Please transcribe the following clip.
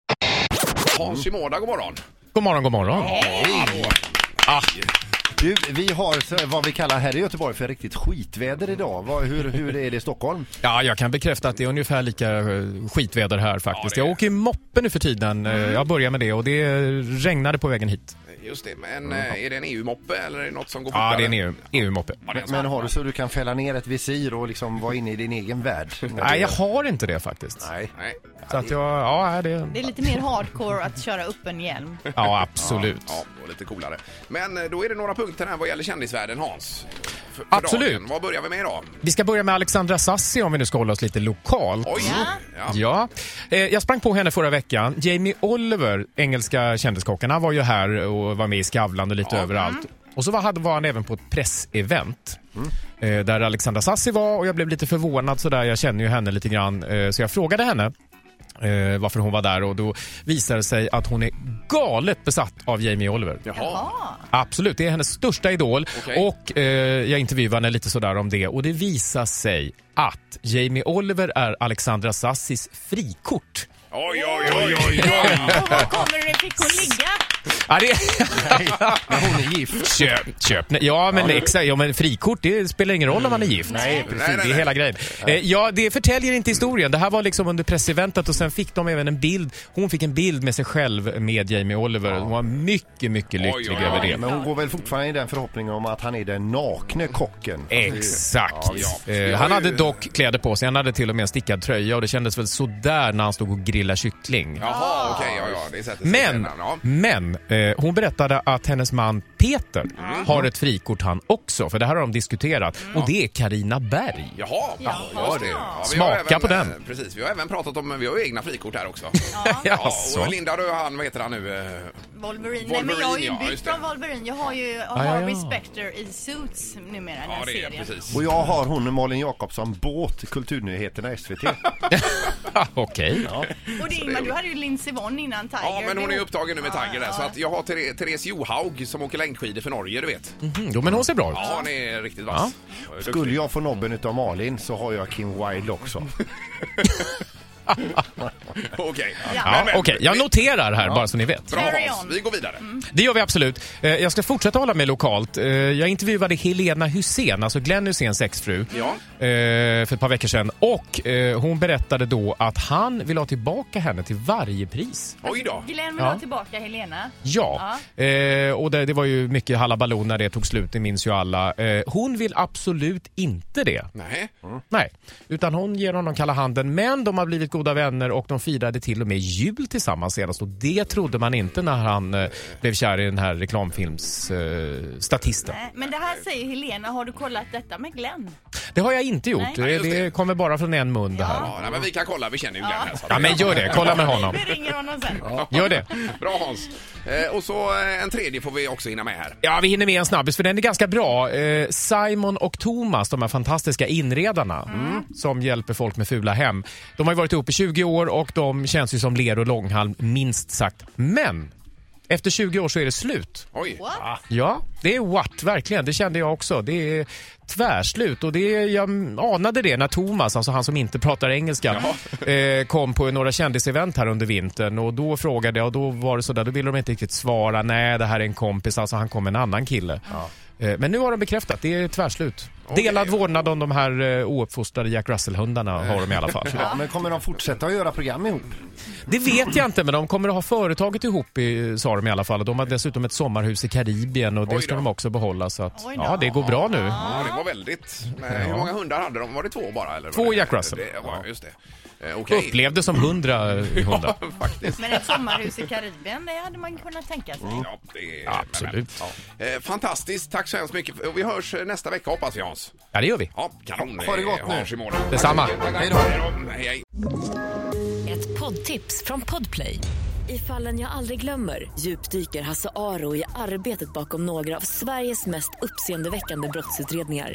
Mm. Hans Shimoda, god morgon. God morgon, god morgon. Hej! Ah. Du, vi har så- vad vi kallar här i Göteborg för riktigt skitväder idag. Vad, hur, hur är det i Stockholm? Ja, jag kan bekräfta att det är ungefär lika eh, skitväder här faktiskt. Ja, det är- Jag åker ju moppe nu för tiden. Eh, Jag börjar med det och det regnade på vägen hit. Just det, men eh, är det en EU-moppe eller är det något som går Ja, fortare? det är en E EU EU-moppe. Ja, det är en sån. Men har du så du kan fälla ner ett visir och liksom vara inne i din egen värld? Nej, jag har inte det faktiskt. Nej. Nej. Så att jag, ja, det, Det är lite mer hardcore att köra upp en hjälm. ja absolut. Ja, det var lite coolare. Men eh, då är det några punkter här vad gäller kändisvärlden, Hans. För, för Absolut. Dagen. Vad börjar vi med idag? Vi ska börja med Alexandra Sassi om vi nu ska hålla oss lite lokalt. Oj! Ja. Ja. Ja, eh, jag sprang på henne förra veckan. Jamie Oliver, engelska kändiskocken, han var ju här och var med i Skavlan och lite överallt. Och så var, hade- var han även på ett pressevent. eh, Där Alexandra Sassi var och jag blev lite förvånad sådär, jag känner ju henne lite grann. eh, Så jag frågade henne eh, varför hon var där och då visade det sig att hon är galet besatt av Jamie Oliver. Jaha. Absolut, det är hennes största idol. Okej. Och eh, jag intervjuade henne lite sådär om det och det visar sig att Jamie Oliver är Alexandra Sassis frikort. Oj, oj, oj, oj, oj. Men, Ah. och var kommer det, fick hon ligga? Ja, det... Men hon är gift. köp, köp. Nej, Ja men, exakt, ja, men frikort det spelar ingen roll om man är gift. Nej, precis. Nej, nej, Det är hela grejen. Eh, ja, det förtäljer inte historien. Det här var liksom under presseventet och sen fick de även en bild. Hon fick en bild med sig själv med Jamie Oliver. Hon var mycket, mycket lycklig oj, oj. över det. Men hon går väl fortfarande i den förhoppningen om att han är den nakne kocken. Exakt. Ja, Eh, ja. han Jag har ju- hade dock kläder på sig. Han hade till och med en stickad tröja och det kändes väl sådär när han stod och grillade kyckling. Jaha, okej, ja, ja, det sätter sig Men, sedan, ja. men eh, hon berättade att hennes man Peter Mm. har ett frikort han också, för det här har de diskuterat. Och det är Karina Berg. Jaha, ja, Ja. just det. Ja, vi Smaka har även, på eh, den. Precis, vi har även pratat om, vi har ju egna frikort här också. Ja, Jaså? och Linda, du och han, vad heter han nu? Eh, Wolverine. Nej, men jag är ju Wolverine, ja, bytt just det. från Wolverine. Jag har ju ja, ja. Harvey Specter i Suits numera, den Ja, här det är serien. precis. Och jag har hon Malin Jakobsson båt, Kulturnyheterna SVT. Ah, Okej. Och det, Ingmar, du hade ju Lindsey Vonn innan Tiger. Ja, men hon är Det- upptagen nu med Tiger där. Så att jag har Ther- Therese Johaug som åker längdskidor för Norge, du vet. Mm, jo, men hon ser bra ut. Ja, hon är riktigt vass. Ja. Skulle jag få nobben utav Malin så har jag Kim Wilde också. Okej. Ja, Men, men, Okej, jag noterar här Mm. bara så ni vet. Bra Carry Hans, on. vi går vidare. Det gör vi absolut. Eh, Jag ska fortsätta hålla mig lokalt. Eh, Jag intervjuade Helena Hussein, alltså Glenn Husseins exfru, Ja. eh, för ett par veckor sedan. Och eh, hon berättade då att han vill ha tillbaka henne till varje pris. Oj då. Glenn vill Ja. ha tillbaka Helena. Ja, Eh, och det, det var ju mycket halabaloo när det tog slut, det minns ju alla. Eh, hon vill absolut inte det. Nej. Nej, utan hon ger honom kalla handen. Men de har blivit goda vänner och de firade till och med jul tillsammans senast. Och det trodde man inte när han eh, blev kär i den här reklamfilmsstatisten. Eh, statisten. Nej, Men det här säger Helena. Har du kollat detta med Glenn? det har jag inte gjort. Nej. Det, just det. det kommer bara från en mun det här. Ja, nej, men vi kan kolla, vi känner ju Glenn här. så att- Ja, men gör det. Kolla med honom. Vi ringer honom sen. Gör det. Bra Hans. Eh, och så eh, en tredje får vi också hinna med här. Ja, vi hinner med en snabbis för den är ganska bra. Eh, Simon och Thomas, de här fantastiska inredarna som hjälper folk med fula hem. De har ju varit ihop i 20 år och de känns ju som ler och långhalm minst sagt. Men efter 20 år så är det slut. Oj. What? Ja, det är what, verkligen. Det kände jag också. Det är tvärslut och det, är- jag anade det när Thomas, alltså han som inte pratar engelska, eh, kom på några kändisevent här under vintern och då frågade jag och då var det sådär, då ville de inte riktigt svara. Nej, det här är en kompis, alltså han kom med en annan kille. Eh, Men nu har de bekräftat, det är tvärslut. Okej. Delad vårdnad om de här eh, ouppfostrade Jack Russell-hundarna har de i alla fall. Ja, men kommer de fortsätta att göra program ihop? Det vet jag inte, men de kommer att ha företaget ihop, i, sa de i alla fall. Och De har dessutom ett sommarhus i Karibien och Oj det ska då. de också behålla. Så att, Oj då. ja, det går bra nu. Ja, det var väldigt. Men Hur många hundar hade de? Var det två bara? Eller Två var det- Jack Russell. Det var, just det. Eh, Okej. Upplevde som hundra eh, hundar. Faktiskt. Men ett sommarhus i Karibien, det hade man kunnat tänka sig. Ja, det är... Absolut. Ja. Eh, Fantastiskt. Tack så hemskt mycket. Och Vi hörs eh, nästa vecka hoppas vi Hans. Ja, det gör vi. Ja, kanon. Ha det gott nu. Hans imorgon. Detsamma. Hej då. Hej, hej. Ett poddtips från Podplay. I fallen jag aldrig glömmer djupdyker Hasse Aro i arbetet bakom några av Sveriges mest uppseendeväckande brottsutredningar.